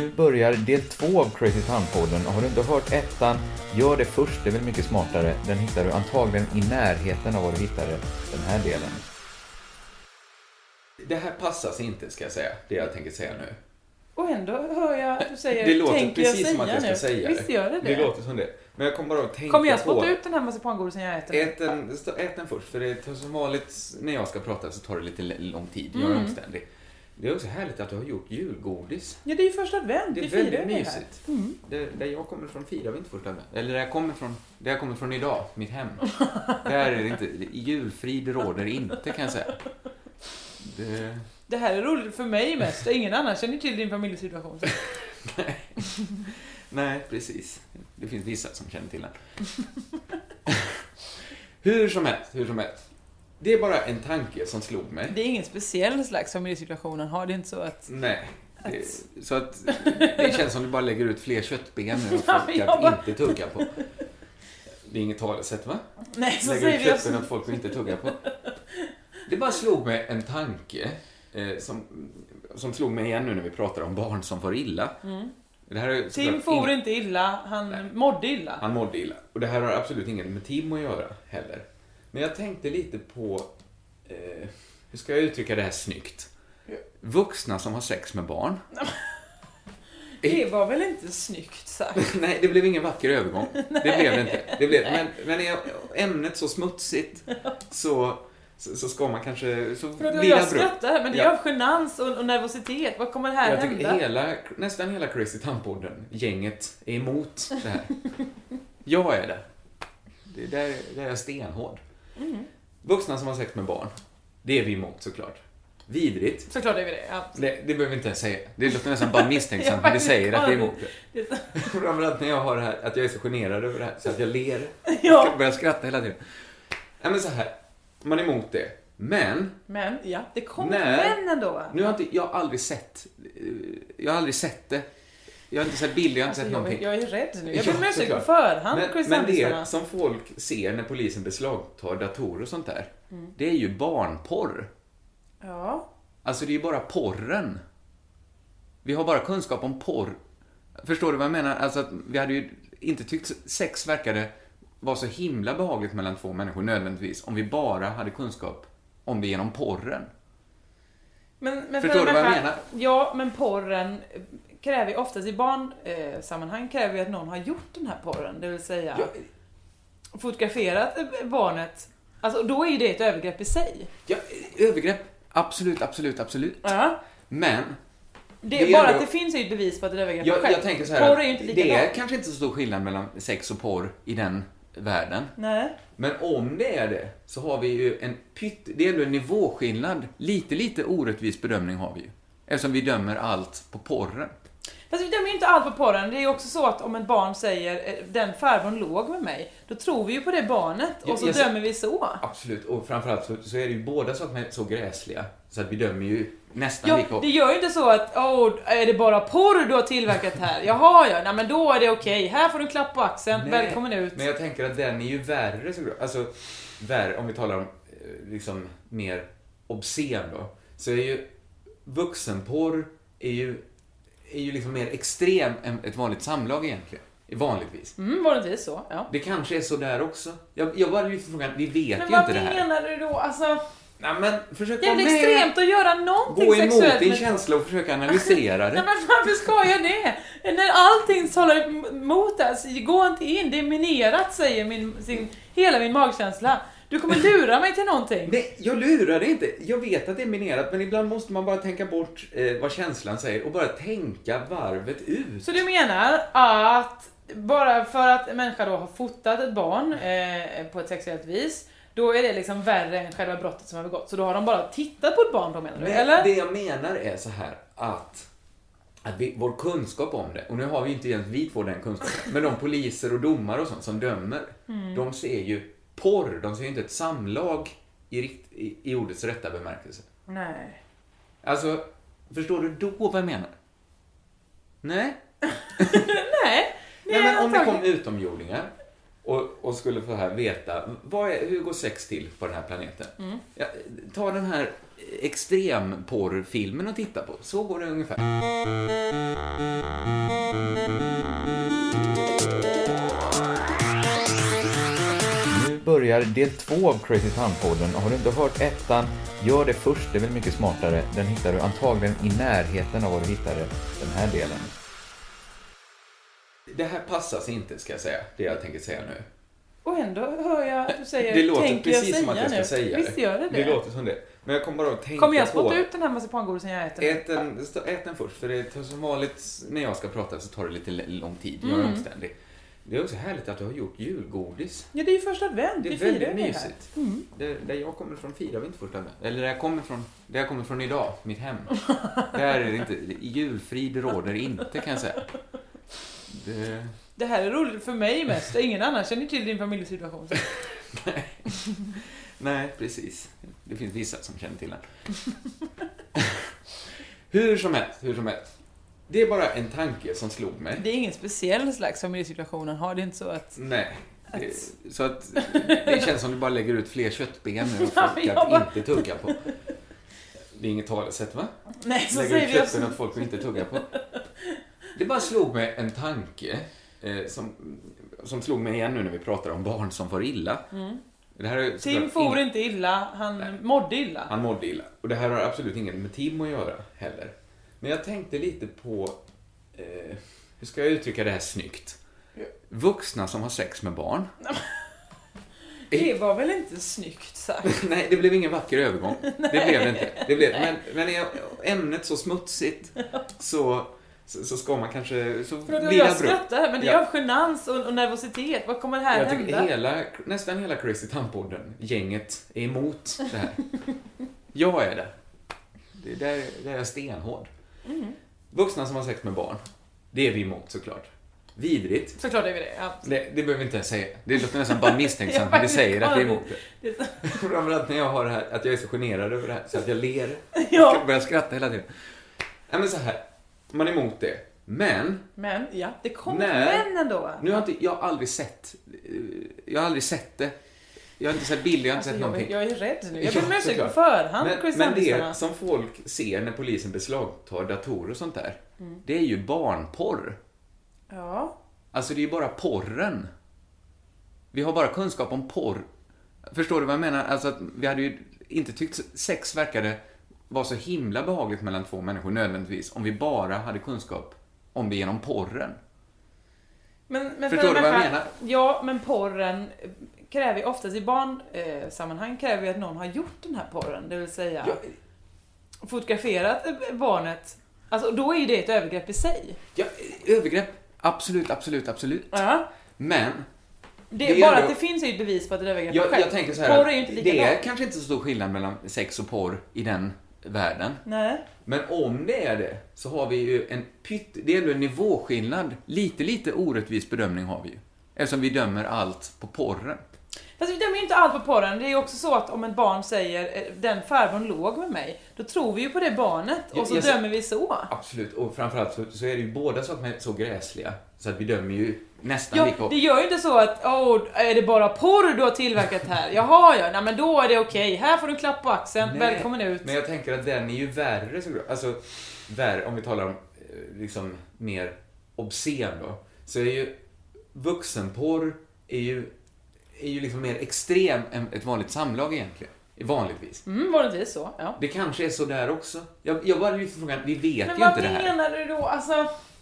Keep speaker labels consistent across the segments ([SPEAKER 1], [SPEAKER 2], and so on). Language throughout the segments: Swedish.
[SPEAKER 1] Nu börjar del två av Crazy Town-podden. Har du inte hört ettan, gör det först. Det är väl mycket smartare. Den hittar du antagligen i närheten av var du hittade den här delen.
[SPEAKER 2] Det här passar sig inte, ska jag säga. Det jag tänker säga nu.
[SPEAKER 3] Och ändå hör jag att du säger,
[SPEAKER 2] Det låter
[SPEAKER 3] tänker
[SPEAKER 2] precis
[SPEAKER 3] jag säga
[SPEAKER 2] som att jag ska
[SPEAKER 3] nu?
[SPEAKER 2] säga
[SPEAKER 3] Visst gör det det?
[SPEAKER 2] Det låter som det. Men jag kommer bara att tänka
[SPEAKER 3] Kommer jag
[SPEAKER 2] på...
[SPEAKER 3] spotta ut den här marsipangodisen jag äter?
[SPEAKER 2] Ät den, stå- ät den först, för det tar som vanligt när jag ska prata så tar det lite l- lång tid. Jag är
[SPEAKER 3] Mm.
[SPEAKER 2] omständig. Det är också härligt att du har gjort julgodis.
[SPEAKER 3] Ja, det är ju första advent.
[SPEAKER 2] Det är
[SPEAKER 3] Vi firar ju
[SPEAKER 2] väldigt
[SPEAKER 3] det här. Mm.
[SPEAKER 2] mysigt. Där, där jag kommer från firar vi inte första advent. Eller där jag kommer från, där jag kommer från idag, mitt hem. där är det inte, julfrid råder inte kan jag säga. Det,
[SPEAKER 3] Det här är roligt för mig mest. Ingen annan känner till din familjesituation. Så-
[SPEAKER 2] nej, precis. Det finns vissa som känner till den. hur som helst, hur som helst. Det är bara en tanke som slog mig.
[SPEAKER 3] Det är ingen speciell slags familjesituation han har. Det är inte så att...
[SPEAKER 2] Nej. Det, så att det känns som du bara lägger ut fler köttben nu och
[SPEAKER 3] Ja,
[SPEAKER 2] folk
[SPEAKER 3] men jag
[SPEAKER 2] att
[SPEAKER 3] bara-
[SPEAKER 2] inte tugga på. Det är inget talesätt va?
[SPEAKER 3] Nej, så
[SPEAKER 2] lägger
[SPEAKER 3] säger
[SPEAKER 2] ut
[SPEAKER 3] vi
[SPEAKER 2] köttben
[SPEAKER 3] också.
[SPEAKER 2] åt folk att inte tugga på. Det bara slog mig en tanke eh, som, som slog mig igen nu när vi pratar om barn som får illa. Det här är
[SPEAKER 3] Mm. Tim
[SPEAKER 2] såklart
[SPEAKER 3] for
[SPEAKER 2] inget-
[SPEAKER 3] inte illa, han mådde illa.
[SPEAKER 2] Han mådde illa. Och det här har absolut inget med Tim att göra heller. Men jag tänkte lite på, eh, hur ska jag uttrycka det här snyggt? Vuxna som har sex med barn.
[SPEAKER 3] Det var väl inte snyggt sagt?
[SPEAKER 2] Nej, det blev ingen vacker övergång. Det blev det inte. Det blev, men, men är ämnet så smutsigt så, så, så ska man kanske... Så
[SPEAKER 3] Förlåt
[SPEAKER 2] blir
[SPEAKER 3] om
[SPEAKER 2] det
[SPEAKER 3] jag
[SPEAKER 2] abrupt.
[SPEAKER 3] skrattar, men det är av genans och, och nervositet. Vad kommer det här
[SPEAKER 2] Jag tycker
[SPEAKER 3] hända?
[SPEAKER 2] hela, nästan hela Crazy Town-podden, gänget, är emot det här. Jag är det. det där, där är jag stenhård.
[SPEAKER 3] Mm.
[SPEAKER 2] Vuxna som har sex med barn, det är vi emot såklart. Vidrigt.
[SPEAKER 3] Såklart är vi det. Ja.
[SPEAKER 2] Det, det behöver vi inte ens säga. Det låter nästan bara misstänksamt när vi säger att vi är emot det.
[SPEAKER 3] det. är så-
[SPEAKER 2] Framförallt när jag har det här, att jag är så generad över det här, så att jag ler.
[SPEAKER 3] Ja.
[SPEAKER 2] Jag ska börja skratta hela tiden. Nej men så här, man är emot det. Men,
[SPEAKER 3] Men, ja, det kommer
[SPEAKER 2] Nej.
[SPEAKER 3] men ändå.
[SPEAKER 2] nu har inte, jag har aldrig sett, eh, jag har aldrig sett det. Jag har inte sett bilder, jag har inte
[SPEAKER 3] Alltså,
[SPEAKER 2] sett
[SPEAKER 3] jag,
[SPEAKER 2] någonting.
[SPEAKER 3] jag är rädd nu. Jag ber om
[SPEAKER 2] Ja,
[SPEAKER 3] ursäkt på
[SPEAKER 2] såklart.
[SPEAKER 3] förhand,
[SPEAKER 2] men, men det som folk ser när polisen beslagtar datorer och sånt där,
[SPEAKER 3] Mm.
[SPEAKER 2] det är ju barnporr.
[SPEAKER 3] Ja.
[SPEAKER 2] Alltså det är ju bara porren. Vi har bara kunskap om porr. Förstår du vad jag menar? Alltså att vi hade ju inte tyckt sex verkade vara så himla behagligt mellan två människor nödvändigtvis om vi bara hade kunskap om det genom porren.
[SPEAKER 3] Men, men
[SPEAKER 2] Förstår
[SPEAKER 3] för
[SPEAKER 2] du vad
[SPEAKER 3] en
[SPEAKER 2] jag
[SPEAKER 3] människa-
[SPEAKER 2] menar?
[SPEAKER 3] Ja, men porren eh, kräver ju oftast i barnsammanhang eh, sammanhang kräver ju att någon har gjort den här porren. Det vill säga
[SPEAKER 2] Ja.
[SPEAKER 3] fotograferat eh, barnet. Alltså då är ju det ett övergrepp i sig.
[SPEAKER 2] Ja, övergrepp. Absolut, absolut, absolut.
[SPEAKER 3] Ja.
[SPEAKER 2] Men
[SPEAKER 3] Det,
[SPEAKER 2] Det är
[SPEAKER 3] bara
[SPEAKER 2] ändå-
[SPEAKER 3] att det finns är ju ett bevis på att det är övergrepp
[SPEAKER 2] jag,
[SPEAKER 3] själv.
[SPEAKER 2] jag tänker så här
[SPEAKER 3] Porr är ju
[SPEAKER 2] att
[SPEAKER 3] inte
[SPEAKER 2] det
[SPEAKER 3] likadant.
[SPEAKER 2] är kanske inte så stor skillnad mellan sex och porr i den världen.
[SPEAKER 3] Nej.
[SPEAKER 2] Men om det är det, så har vi ju en pytt... Det är ändå en nivåskillnad. Lite, lite orättvis bedömning har vi ju. Eftersom vi dömer allt på porren.
[SPEAKER 3] Fast vi dömer ju inte allt på porren. Det är ju också så att om ett barn säger eh, den farbrorn låg med mig, då tror vi ju på det barnet och
[SPEAKER 2] Jag-
[SPEAKER 3] så
[SPEAKER 2] jag-
[SPEAKER 3] dömer vi så.
[SPEAKER 2] Absolut, och framförallt så, så är det ju båda sakerna så gräsliga. Så att vi dömer ju nästan
[SPEAKER 3] Ja,
[SPEAKER 2] lika hårt.
[SPEAKER 3] det gör ju inte så att åh, är det bara porr du har tillverkat här? Jaha ja, nej men då är det okej. Här får du klapp på axeln,
[SPEAKER 2] Nej,
[SPEAKER 3] välkommen ut.
[SPEAKER 2] Men jag tänker att den är ju värre såklart. Alltså, värre, om vi talar om eh, liksom mer obscen då. Så är ju vuxenporr är ju, är ju liksom mer extrem än ett vanligt samlag egentligen. Vanligtvis.
[SPEAKER 3] Mm, vanligtvis så. Ja.
[SPEAKER 2] Det kanske är så där också. Jag, jag bara lyfter frågan, vi vet
[SPEAKER 3] Men
[SPEAKER 2] ju
[SPEAKER 3] vad
[SPEAKER 2] inte det här.
[SPEAKER 3] menar du då? Alltså,
[SPEAKER 2] Nej, men försök
[SPEAKER 3] Det är
[SPEAKER 2] vara
[SPEAKER 3] väl
[SPEAKER 2] med.
[SPEAKER 3] extremt att göra
[SPEAKER 2] Gå
[SPEAKER 3] någonting
[SPEAKER 2] emot
[SPEAKER 3] sexuellt
[SPEAKER 2] din
[SPEAKER 3] med
[SPEAKER 2] känsla och försök analysera
[SPEAKER 3] Nej
[SPEAKER 2] det.
[SPEAKER 3] men varför ska jag det? När allting talar emot det, så gå inte in, det är minerat säger min, sin, hela min magkänsla. Du kommer lura mig till någonting.
[SPEAKER 2] Nej, jag lurar dig inte. Jag vet att det är minerat, men ibland måste man bara tänka bort eh, vad känslan säger och bara tänka varvet ut.
[SPEAKER 3] Så du menar att bara för att en människa då har fotat ett barn eh, på ett sexuellt vis, då är det liksom värre än själva brottet som har begåtts. Så då har de bara tittat på ett barn då menar du?
[SPEAKER 2] Nej,
[SPEAKER 3] eller?
[SPEAKER 2] Det jag menar är så här att, att vi, vår kunskap om det, och nu har vi inte ens vi två den kunskapen, men de poliser och domare och sånt som dömer, de ser ju porr, de ser ju inte ett samlag i, rikt, i, i ordets rätta bemärkelse.
[SPEAKER 3] Nej.
[SPEAKER 2] Alltså, förstår du då vad jag menar? Nej?
[SPEAKER 3] Nej.
[SPEAKER 2] Nej, men om det
[SPEAKER 3] antagligen.
[SPEAKER 2] kom utomjordingar och, och skulle få här veta vad är, hur går sex till på den här planeten? Ja, ta den här extremporrfilmen och titta på. Så går det ungefär.
[SPEAKER 1] Nu börjar del två av Crazy Town-podden och har du inte hört ettan, gör det först. Det är väl mycket smartare. Den hittar du antagligen i närheten av var du hittade den här delen.
[SPEAKER 2] Det här passas inte, ska jag säga, det jag tänker säga nu.
[SPEAKER 3] Och ändå hör jag att du säger,
[SPEAKER 2] det låter
[SPEAKER 3] tänker
[SPEAKER 2] precis
[SPEAKER 3] jag säga
[SPEAKER 2] som att jag ska
[SPEAKER 3] nu?
[SPEAKER 2] säga
[SPEAKER 3] Visst gör det det?
[SPEAKER 2] Det låter som det. Men jag kommer bara att tänka
[SPEAKER 3] Kommer jag
[SPEAKER 2] på...
[SPEAKER 3] spotta ut den här marsipangodisen jag äter?
[SPEAKER 2] Ät den, stå- ät den först, för det tar som vanligt när jag ska prata så tar det lite l- lång tid. Jag är
[SPEAKER 3] Mm.
[SPEAKER 2] omständig. Det är också härligt att du har gjort julgodis.
[SPEAKER 3] Ja, det är ju första advent.
[SPEAKER 2] Det är
[SPEAKER 3] vi firar ju
[SPEAKER 2] väldigt
[SPEAKER 3] det här. Mm.
[SPEAKER 2] mysigt. Där, där jag kommer från firar vi inte första advent. Eller där jag kommer från, där jag kommer från idag, mitt hem. där är det inte, julfrid råder inte kan jag säga. Det,
[SPEAKER 3] Det här är roligt för mig mest. Ingen annan känner till din familjesituation. Så.
[SPEAKER 2] nej, precis. Det finns vissa som känner till den. hur som helst, hur som helst. Det är bara en tanke som slog mig.
[SPEAKER 3] Det är ingen speciell slags familjesituation han har. Det är inte så att...
[SPEAKER 2] Nej. Det, så att det känns som du bara lägger ut fler köttben nu och
[SPEAKER 3] Ja,
[SPEAKER 2] folk
[SPEAKER 3] men jag
[SPEAKER 2] att
[SPEAKER 3] bara-
[SPEAKER 2] inte tugga på. Det är inget talesätt va?
[SPEAKER 3] Nej, så
[SPEAKER 2] lägger
[SPEAKER 3] säger
[SPEAKER 2] ut
[SPEAKER 3] vi
[SPEAKER 2] köttben åt
[SPEAKER 3] absolut.
[SPEAKER 2] folk att inte tugga på. Det bara slog mig en tanke eh, som, som slog mig igen nu när vi pratar om barn som får illa. Det här är såklart
[SPEAKER 3] Mm. Tim for
[SPEAKER 2] inget-
[SPEAKER 3] inte illa, han mådde illa.
[SPEAKER 2] han mådde illa. Och det här har absolut inget med Tim att göra heller. Men jag tänkte lite på... Eh, hur ska jag uttrycka det här snyggt? Vuxna som har sex med barn.
[SPEAKER 3] Det var väl inte snyggt sagt?
[SPEAKER 2] Nej, det blev ingen vacker övergång. Det blev det inte. Det blev, men, men är ämnet så smutsigt så, så, så ska man kanske... Så
[SPEAKER 3] Förlåt,
[SPEAKER 2] blir det
[SPEAKER 3] jag
[SPEAKER 2] abrupt.
[SPEAKER 3] skrattar här, men det är
[SPEAKER 2] Ja.
[SPEAKER 3] av genans och, och nervositet. Vad kommer här
[SPEAKER 2] Jag
[SPEAKER 3] hända?
[SPEAKER 2] tycker hela, nästan hela Crazy Town-podden, gänget, är emot det här. jag är det. det där, där är jag stenhård.
[SPEAKER 3] Mm.
[SPEAKER 2] Vuxna som har sex med barn, det är vi emot såklart. Vidrigt.
[SPEAKER 3] Såklart är vi det. Ja.
[SPEAKER 2] Det, det behöver vi inte ens säga. Det låter nästan bara misstänksamt när vi säger att vi är emot det.
[SPEAKER 3] Det är så-
[SPEAKER 2] Framförallt när jag har det här, att jag är så generad över det här, så att jag ler.
[SPEAKER 3] Ja.
[SPEAKER 2] Jag börjar skratta hela tiden. Nej men så här, man är emot det. Men,
[SPEAKER 3] Men, ja, det kommer
[SPEAKER 2] Nej.
[SPEAKER 3] män ändå.
[SPEAKER 2] nu har inte, jag har aldrig sett, eh, jag har aldrig sett det. Jag har inte sett bilder, jag har inte
[SPEAKER 3] Alltså,
[SPEAKER 2] sett
[SPEAKER 3] jag,
[SPEAKER 2] någonting.
[SPEAKER 3] jag är rädd nu. Jag ber om
[SPEAKER 2] Ja,
[SPEAKER 3] ursäkt på
[SPEAKER 2] såklart.
[SPEAKER 3] förhand,
[SPEAKER 2] men, men det som folk ser när polisen beslagtar datorer och sånt där,
[SPEAKER 3] Mm.
[SPEAKER 2] det är ju barnporr.
[SPEAKER 3] Ja.
[SPEAKER 2] Alltså det är ju bara porren. Vi har bara kunskap om porr. Förstår du vad jag menar? Alltså att vi hade ju inte tyckt sex verkade vara så himla behagligt mellan två människor nödvändigtvis om vi bara hade kunskap om det genom porren.
[SPEAKER 3] Men, men
[SPEAKER 2] Förstår
[SPEAKER 3] för
[SPEAKER 2] du
[SPEAKER 3] en
[SPEAKER 2] vad jag
[SPEAKER 3] människa-
[SPEAKER 2] menar?
[SPEAKER 3] Ja, men porren eh, kräver ju oftast i barnsammanhang eh, sammanhang kräver ju att någon har gjort den här porren. Det vill säga
[SPEAKER 2] Ja.
[SPEAKER 3] fotograferat eh, barnet. Alltså då är ju det ett övergrepp i sig.
[SPEAKER 2] Ja, övergrepp, absolut, absolut, absolut.
[SPEAKER 3] Ja.
[SPEAKER 2] Men
[SPEAKER 3] Det,
[SPEAKER 2] Det är
[SPEAKER 3] bara
[SPEAKER 2] ändå-
[SPEAKER 3] att det finns är ju ett bevis på att det är ett övergrepp
[SPEAKER 2] jag,
[SPEAKER 3] själv.
[SPEAKER 2] jag tänker så här,
[SPEAKER 3] Porr är ju inte
[SPEAKER 2] att
[SPEAKER 3] likadant.
[SPEAKER 2] det är kanske inte så stor skillnad mellan sex och porr i den världen.
[SPEAKER 3] Nej.
[SPEAKER 2] Men om det är det, så har vi ju en pytt... Det är ändå en nivåskillnad. Lite, lite orättvis bedömning har vi ju. Eftersom vi dömer allt på porren.
[SPEAKER 3] Fast vi dömer ju inte allt på porren. Det är ju också så att om ett barn säger eh, den farbrorn låg med mig. Då tror vi ju på det barnet
[SPEAKER 2] Jag-
[SPEAKER 3] och så
[SPEAKER 2] jag ser-
[SPEAKER 3] dömer vi så.
[SPEAKER 2] Absolut, och framförallt så, så är det ju båda sakerna är så gräsliga. Så att vi dömer ju nästan
[SPEAKER 3] Ja,
[SPEAKER 2] lika hårt.
[SPEAKER 3] det gör ju inte så att åh, är det bara porr du har tillverkat här? Jaha ja, nej men då är det okej. Här får du en klapp på axeln,
[SPEAKER 2] Nej,
[SPEAKER 3] välkommen ut.
[SPEAKER 2] Men jag tänker att den är ju värre såklart. Alltså, värre, om vi talar om eh, liksom mer obscen då. Så är ju vuxenporr är ju, är ju liksom mer extrem än ett vanligt samlag egentligen. Vanligtvis.
[SPEAKER 3] Mm, vanligtvis så. Ja.
[SPEAKER 2] Det kanske är så där också. Jag, jag bara lyfter frågan, vi vet
[SPEAKER 3] Men
[SPEAKER 2] ju
[SPEAKER 3] vad
[SPEAKER 2] inte det här.
[SPEAKER 3] menar du då? Alltså,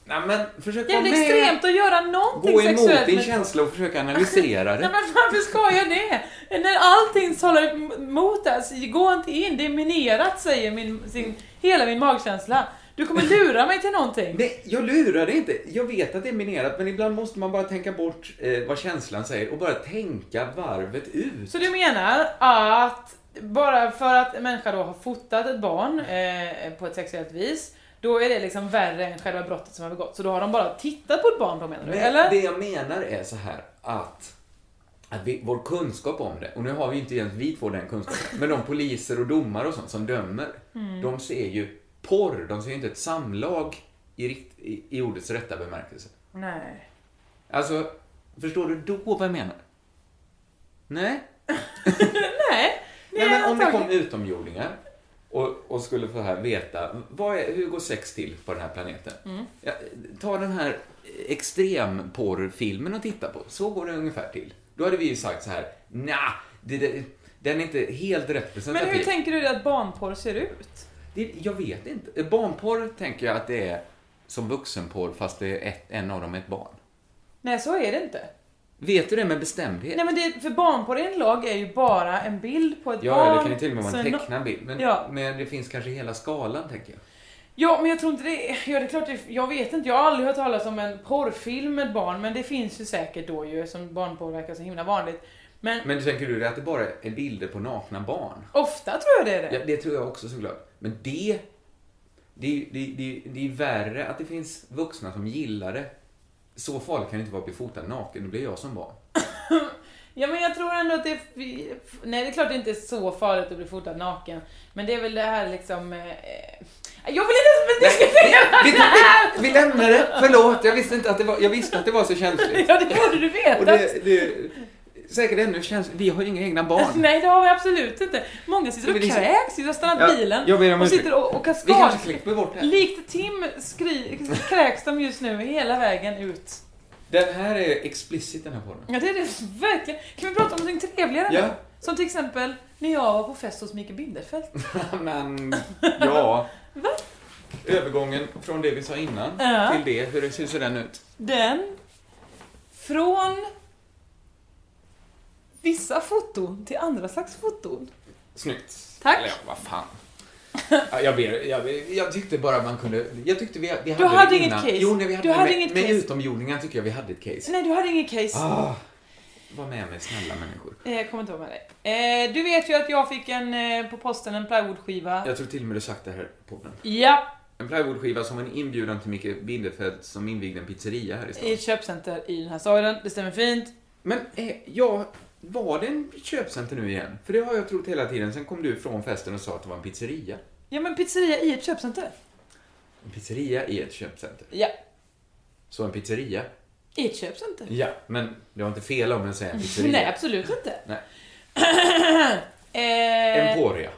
[SPEAKER 2] Nej men försök
[SPEAKER 3] det är
[SPEAKER 2] vara
[SPEAKER 3] väl
[SPEAKER 2] med.
[SPEAKER 3] extremt att göra någonting
[SPEAKER 2] Gå emot
[SPEAKER 3] sexuellt.
[SPEAKER 2] din
[SPEAKER 3] med-
[SPEAKER 2] känsla och försök analysera
[SPEAKER 3] Nej
[SPEAKER 2] det.
[SPEAKER 3] men varför ska jag det? När allting talar emot det, här, så gå inte in, det är minerat säger min, sin, hela min magkänsla. Du kommer lura mig till någonting.
[SPEAKER 2] Nej, jag lurar dig inte. Jag vet att det är minerat, men ibland måste man bara tänka bort eh, vad känslan säger och bara tänka varvet ut.
[SPEAKER 3] Så du menar att bara för att en människa då har fotat ett barn eh, på ett sexuellt vis, då är det liksom värre än själva brottet som har begåtts. Så då har de bara tittat på ett barn då menar du?
[SPEAKER 2] Men
[SPEAKER 3] eller?
[SPEAKER 2] Det jag menar är så här att, att vi, vår kunskap om det, och nu har vi inte ens vi två den kunskapen, men de poliser och domare och sånt som dömer,
[SPEAKER 3] Mm.
[SPEAKER 2] de ser ju porr, de ser ju inte ett samlag i, rikt, i, i ordets rätta bemärkelse.
[SPEAKER 3] Nej.
[SPEAKER 2] Alltså, förstår du då vad jag menar? Nej?
[SPEAKER 3] Nej.
[SPEAKER 2] Nej, men om det
[SPEAKER 3] antagligen.
[SPEAKER 2] kom utomjordingar och, och skulle få här veta vad är, hur går sex till på den här planeten?
[SPEAKER 3] Mm.
[SPEAKER 2] Ja, ta den här extremporrfilmen och titta på. Så går det ungefär till. Då hade vi ju sagt så här, nja, det, det, den är inte helt
[SPEAKER 3] Men
[SPEAKER 2] representativ.
[SPEAKER 3] hur tänker du dig att barnporr ser ut?
[SPEAKER 2] det, jag vet inte. Eh, Barnporr tänker jag att det är som vuxenporr fast det är ett, en av dem är ett barn.
[SPEAKER 3] Nej, så är det inte.
[SPEAKER 2] Vet du det med bestämdhet?
[SPEAKER 3] Nej men det, för barnporr enligt lag är ju bara en bild på ett
[SPEAKER 2] ja,
[SPEAKER 3] barn.
[SPEAKER 2] ja, det kan ju till och med vara en
[SPEAKER 3] sen-
[SPEAKER 2] tecknad bild. Men,
[SPEAKER 3] Ja.
[SPEAKER 2] men det finns kanske hela skalan, tänker jag.
[SPEAKER 3] Ja, men jag tror inte det är- Ja, det är klart, det, jag vet inte. Jag har aldrig hört talas om en porrfilm med barn, men det finns ju säkert då ju, som barnporr verkar så himla vanligt. Men,
[SPEAKER 2] Men tänker du att det bara är bilder på nakna barn?
[SPEAKER 3] ofta tror jag det är det.
[SPEAKER 2] Ja, det tror jag också såklart. Men det, det, det, det, det är värre att det finns vuxna som gillar det. Så farligt kan det inte vara att bli fotad naken, det blir jag som barn.
[SPEAKER 3] Ja men jag tror ändå att det är... Nej det är klart det inte är så farligt att bli fotad naken. Men det är väl det här liksom... Eh, eh, jag vill inte ens diskutera
[SPEAKER 2] Vi,
[SPEAKER 3] det här!
[SPEAKER 2] vi, vi lämnar det, förlåt, jag visste, inte att det var, jag visste att det var så känsligt.
[SPEAKER 3] Ja det borde du veta.
[SPEAKER 2] Och det, det, säkert ännu känsligt, vi har ju inga egna barn.
[SPEAKER 3] Nej det har vi absolut inte. Många sitter och
[SPEAKER 2] Men det är så-
[SPEAKER 3] kräks, vi har stannat
[SPEAKER 2] Ja,
[SPEAKER 3] bilen
[SPEAKER 2] jag ber om
[SPEAKER 3] och
[SPEAKER 2] ursäkt.
[SPEAKER 3] sitter och, och
[SPEAKER 2] Vi kanske
[SPEAKER 3] kaskad.
[SPEAKER 2] klipper bort det här.
[SPEAKER 3] Likt Tim skri, kräks de just nu hela vägen ut.
[SPEAKER 2] Den här är explicit den här podden.
[SPEAKER 3] Ja det är det verkligen. Kan vi prata om någonting trevligare
[SPEAKER 2] Ja.
[SPEAKER 3] nu? Som till exempel när jag var på fest hos Mikael Binderfeldt.
[SPEAKER 2] Men, ja. Övergången från det vi sa innan
[SPEAKER 3] Ja.
[SPEAKER 2] till det, hur hur ser den ut?
[SPEAKER 3] Den från vissa foton till andra slags foton.
[SPEAKER 2] Snyggt.
[SPEAKER 3] Tack.
[SPEAKER 2] Eller ja, vad fan. Ja, Jag, ber, jag, ber- jag tyckte bara man kunde... Jag tyckte vi, vi hade
[SPEAKER 3] Du hade
[SPEAKER 2] det
[SPEAKER 3] inget
[SPEAKER 2] innan.
[SPEAKER 3] case.
[SPEAKER 2] Jo, nej, vi hade
[SPEAKER 3] Du
[SPEAKER 2] det
[SPEAKER 3] hade
[SPEAKER 2] med,
[SPEAKER 3] inget
[SPEAKER 2] med
[SPEAKER 3] case.
[SPEAKER 2] utomjordingar tycker jag vi hade ett case.
[SPEAKER 3] Nej, du hade ingen case.
[SPEAKER 2] Ah, var med mig, snälla människor.
[SPEAKER 3] Eh, Jag kommer inte vara med dig. Eh, Du vet ju att jag fick en eh, på posten en plywoodskiva.
[SPEAKER 2] Jag tror till och med du sagt det här på podden.
[SPEAKER 3] Ja,
[SPEAKER 2] En plywoodskiva som en inbjudan till Micke Binderfeldt som invigde en pizzeria här i
[SPEAKER 3] i
[SPEAKER 2] stan.
[SPEAKER 3] ett köpcenter i den här staden. Det stämmer fint.
[SPEAKER 2] Men eh, jag... Var det en köpcenter nu igen? För det har jag trott hela tiden. Sen kom du från festen och sa att det var en pizzeria.
[SPEAKER 3] Ja, men pizzeria i ett köpcenter.
[SPEAKER 2] En pizzeria är ett köpcenter.
[SPEAKER 3] Ja,
[SPEAKER 2] Så en pizzeria?
[SPEAKER 3] i ett köpcenter.
[SPEAKER 2] Ja, men det var inte fel om jag säger en pizzeria.
[SPEAKER 3] Nej, absolut inte.
[SPEAKER 2] Nej.
[SPEAKER 3] Eh,
[SPEAKER 2] Emporia.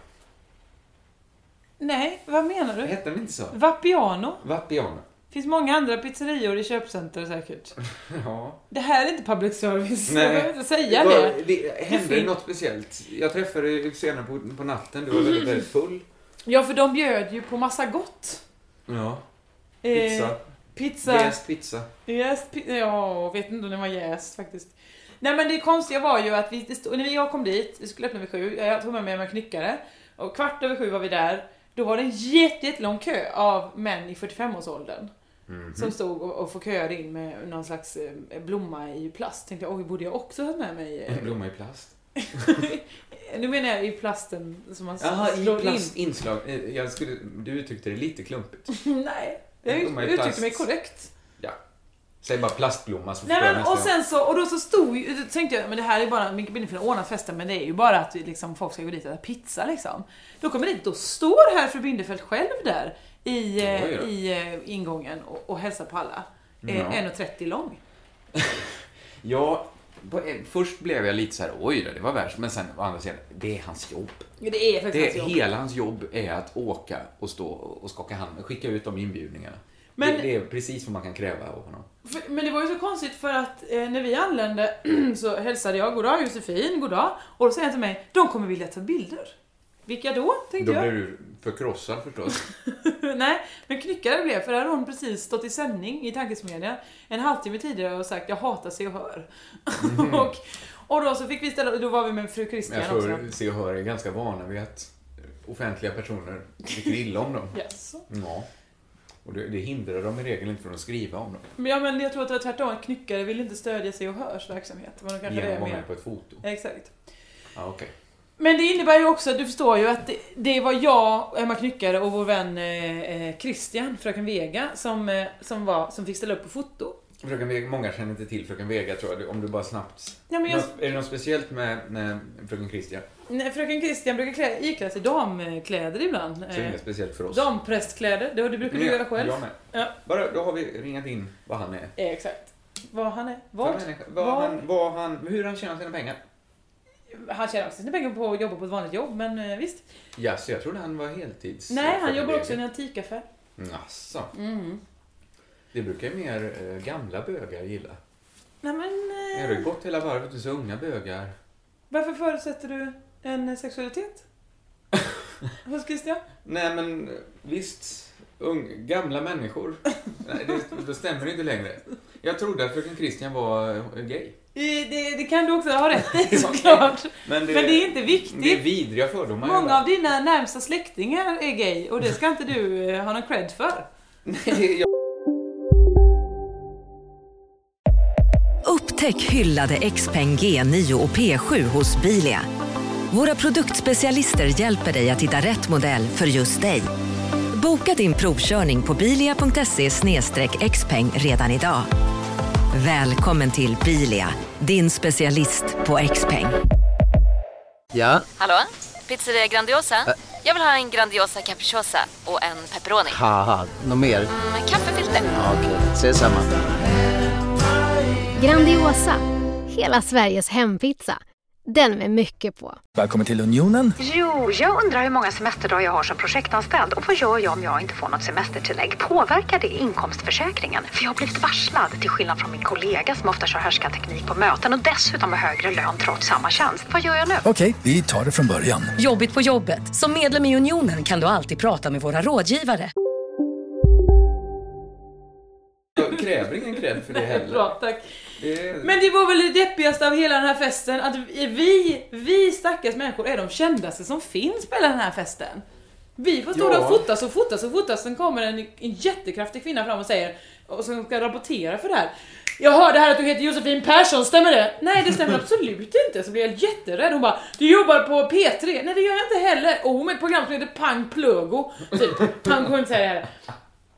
[SPEAKER 3] Nej, vad menar du?
[SPEAKER 2] Hette den inte så?
[SPEAKER 3] Vapiano.
[SPEAKER 2] Vapiano.
[SPEAKER 3] Finns många andra pizzerior i köpcenter säkert.
[SPEAKER 2] Ja.
[SPEAKER 3] Det här är inte public service.
[SPEAKER 2] Nej.
[SPEAKER 3] Jag behöver inte säga
[SPEAKER 2] Vad-
[SPEAKER 3] det.
[SPEAKER 2] det hände
[SPEAKER 3] fin-
[SPEAKER 2] något speciellt. Jag träffade dig senare på, på natten. Du var väldigt,
[SPEAKER 3] Mm.
[SPEAKER 2] väldigt full.
[SPEAKER 3] Ja, för de bjöd ju på massa gott.
[SPEAKER 2] Ja.
[SPEAKER 3] Eh,
[SPEAKER 2] Pizza.
[SPEAKER 3] Pizza.
[SPEAKER 2] Jäst pizza.
[SPEAKER 3] Jäst pi- ja, vet inte om den var jäst faktiskt. Nej men det konstiga var ju att vi, det stod, när jag kom dit, vi skulle öppna vid sju, jag tog med mig en knyckare. Och kvart över sju var vi där. Då var det en jätte- jättelång kö av män i 45-årsåldern.
[SPEAKER 2] Mhm.
[SPEAKER 3] Som stod och, och får köer in med någon slags eh, blomma i plast. Tänkte jag, oj borde jag också ha med mig? eh,
[SPEAKER 2] En blomma i plast.
[SPEAKER 3] Nu menar jag i plasten som man
[SPEAKER 2] Jaha,
[SPEAKER 3] slår
[SPEAKER 2] i plastinslag. Eh, Jag skulle, du uttryckte det lite klumpigt.
[SPEAKER 3] in. Nej, jag
[SPEAKER 2] En blomma i
[SPEAKER 3] uttryckte
[SPEAKER 2] plast.
[SPEAKER 3] mig korrekt.
[SPEAKER 2] Ja. Säg bara plastblomma så
[SPEAKER 3] Nej
[SPEAKER 2] förstår jag
[SPEAKER 3] men
[SPEAKER 2] nästa
[SPEAKER 3] och
[SPEAKER 2] gång.
[SPEAKER 3] sen så, och då så stod ju, då tänkte jag, men det här är bara, Micke Binderfeldt ordnar festen men det är ju bara att vi liksom, folk ska gå dit och äta pizza liksom. Då kommer dit, då står här fru Binderfeldt själv där i, eh,
[SPEAKER 2] Oj då.
[SPEAKER 3] i eh, ingången och, och hälsar på alla. Eh,
[SPEAKER 2] Ja.
[SPEAKER 3] 1,30 lång.
[SPEAKER 2] Ja, på, eh, först blev jag lite så här, oj då, det var värst. Men sen å andra sidan, det är hans jobb.
[SPEAKER 3] Ja, Det är faktiskt
[SPEAKER 2] Det,
[SPEAKER 3] hans jobb.
[SPEAKER 2] hela hans jobb är att åka och stå och skaka hand, skicka ut de inbjudningarna.
[SPEAKER 3] Men-
[SPEAKER 2] Det, det är precis vad man kan kräva av honom.
[SPEAKER 3] För- Men det var ju så konstigt för att eh, när vi anlände så hälsade jag goddag Josefin, goddag. Och då säger han till mig, de kommer vilja ta bilder. Vilka då? Tänkte
[SPEAKER 2] Då blir
[SPEAKER 3] jag.
[SPEAKER 2] du förkrossad förstås.
[SPEAKER 3] Nej, men knyckare blev för där hade hon precis stått i sändning i tankesmedjan en halvtimme tidigare och sagt jag hatar Se och Hör. och, och då så fick vi ställa, då var vi med fru
[SPEAKER 2] Men
[SPEAKER 3] Christian
[SPEAKER 2] Mm. jag
[SPEAKER 3] också.
[SPEAKER 2] tror Se och Hör är ganska vana vid att offentliga personer tycker illa om dem.
[SPEAKER 3] Yes.
[SPEAKER 2] Ja. Och det, det hindrar dem i regel inte från att skriva om dem.
[SPEAKER 3] Men, ja, men jag tror att det var tvärtom, att knyckare ville inte stödja Se och Hörs verksamhet. Men de kanske
[SPEAKER 2] Genom
[SPEAKER 3] det
[SPEAKER 2] att
[SPEAKER 3] är
[SPEAKER 2] vara
[SPEAKER 3] mer.
[SPEAKER 2] med på ett foto.
[SPEAKER 3] Exakt.
[SPEAKER 2] Ja, okej.
[SPEAKER 3] Men det innebär ju också, du förstår ju att det, det var jag, Emma Knyckare och vår vän eh, eh, Christian, Fröken Vega, som, eh, som, var, som fick ställa upp på foto.
[SPEAKER 2] Fröken Vega, många känner inte till Fröken Vega tror jag, om du bara snabbt...
[SPEAKER 3] Ja, men jag-
[SPEAKER 2] Något- Är det något speciellt med, med Fröken Christian?
[SPEAKER 3] Nej, Fröken Christian brukar klä, iklä sig damkläder ibland.
[SPEAKER 2] Så det är
[SPEAKER 3] Eh,
[SPEAKER 2] inget speciellt för oss.
[SPEAKER 3] Damprästkläder, det, det brukar du
[SPEAKER 2] Men jag-
[SPEAKER 3] göra själv.
[SPEAKER 2] Jag med.
[SPEAKER 3] Ja.
[SPEAKER 2] Bara, då har vi ringat in vad han är.
[SPEAKER 3] Eh, Exakt. Vad han är.
[SPEAKER 2] Vad?
[SPEAKER 3] Vad?
[SPEAKER 2] Vad, vad han, vad han, hur han tjänar sina pengar.
[SPEAKER 3] Han tjänar också sina pengar på att jobba på ett vanligt jobb, men eh, visst.
[SPEAKER 2] Ja, så jag trodde han var heltids...
[SPEAKER 3] Nej, han
[SPEAKER 2] Fröken
[SPEAKER 3] jobbar
[SPEAKER 2] Vega.
[SPEAKER 3] också Mm. i en antikaffär.
[SPEAKER 2] Jaså? Det brukar ju mer eh, gamla bögar gilla.
[SPEAKER 3] Nej men,
[SPEAKER 2] Jag har
[SPEAKER 3] eh,
[SPEAKER 2] ju gått hela varvet och så unga bögar.
[SPEAKER 3] varför förutsätter du en sexualitet? Hos Christian?
[SPEAKER 2] Nej men eh, visst, ung, gamla människor. Nej, det, det stämmer inte längre. Jag trodde att fröken Christian var eh, gay.
[SPEAKER 3] Eh, Det, det kan du också ha rätt i såklart.
[SPEAKER 2] Men det-
[SPEAKER 3] Men det är inte viktigt.
[SPEAKER 2] Det är vidriga fördomar.
[SPEAKER 3] Många
[SPEAKER 2] jävlar.
[SPEAKER 3] av dina närmsta släktingar är gay och det ska inte du eh, ha någon cred för.
[SPEAKER 2] Nej, jag-
[SPEAKER 4] Upptäck hyllade XPeng G9 och P7 hos Bilia. Våra produktspecialister hjälper dig att hitta rätt modell för just dig. Boka din provkörning på bilia.se xpeng redan idag. Välkommen till Bilia, din specialist på XPeng.
[SPEAKER 5] Ja,
[SPEAKER 6] Hallå? Pizzeria Grandiosa? Jag vill ha en Grandiosa capriciosa och en pepperoni.
[SPEAKER 5] haha, något mer?
[SPEAKER 6] Med kaffefilter.
[SPEAKER 5] Ja, Okej, ses samma.
[SPEAKER 7] Grandiosa, hela Sveriges hempizza. Den med mycket på.
[SPEAKER 8] Välkommen till Unionen.
[SPEAKER 4] Jo, jag undrar hur många semesterdagar jag har som projektanställd och vad gör jag om jag inte får något semestertillägg? Påverkar det inkomstförsäkringen? För jag har blivit varslad, till skillnad från min kollega som ofta kör teknik på möten och dessutom har högre lön trots samma tjänst. Vad gör jag nu?
[SPEAKER 8] Okej, vi tar det från början.
[SPEAKER 4] Jobbigt på jobbet. Som medlem i Unionen kan du alltid prata med våra rådgivare.
[SPEAKER 2] jag kräver ingen cred för det heller.
[SPEAKER 3] Bra, tack.
[SPEAKER 2] Det är-
[SPEAKER 3] Men det var väl det deppigaste av hela den här festen att vi, vi stackars människor är de kändaste som finns på hela den här festen. Vi får stå
[SPEAKER 2] Ja.
[SPEAKER 3] där och fotas och fotas och fotas, sen kommer en, en jättekraftig kvinna fram och säger, och som ska rapportera för det här. Jag hörde här att du heter Josefin Persson, stämmer det? Nej det stämmer absolut inte, så blir jag jätterädd. Hon bara, du jobbar på P3? Nej det gör jag inte heller. Och hon är ett program som heter Pang Plögo, typ. Han kommer inte säga det heller.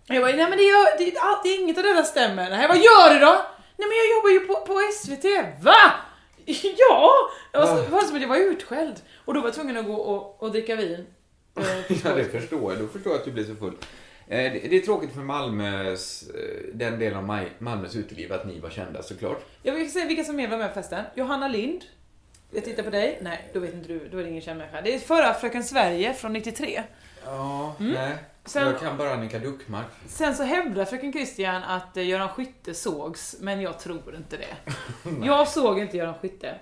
[SPEAKER 3] Jag bara, nej men det gör, det, allt, det är inget av detta stämmer. Nej, vad gör du då? Nej men jag jobbar ju på, på SVT. Va? Ja! Och så, var det som att jag var utskälld. Och då var jag tvungen att gå och, och dricka vin. Eh,
[SPEAKER 2] Ja, det förstår jag. Då förstår jag att du blir så full. Eh, Det det är tråkigt för Malmös, eh, den delen av Maj- Malmös uteliv att ni var kända såklart.
[SPEAKER 3] Jag vill säga vilka som mer var med på festen. Johanna Lind. Jag tittar på dig. Nej, då vet inte du. Då är det ingen känd människa. Det är förra Fröken Sverige från 93.
[SPEAKER 2] Ja, nej.
[SPEAKER 3] Mm. Sen-
[SPEAKER 2] Jag kan bara Annika Duckmark.
[SPEAKER 3] Sen så hävdar Fröken Christian att eh, Göran Skytte sågs, men jag tror inte det. jag såg inte Göran Skytte.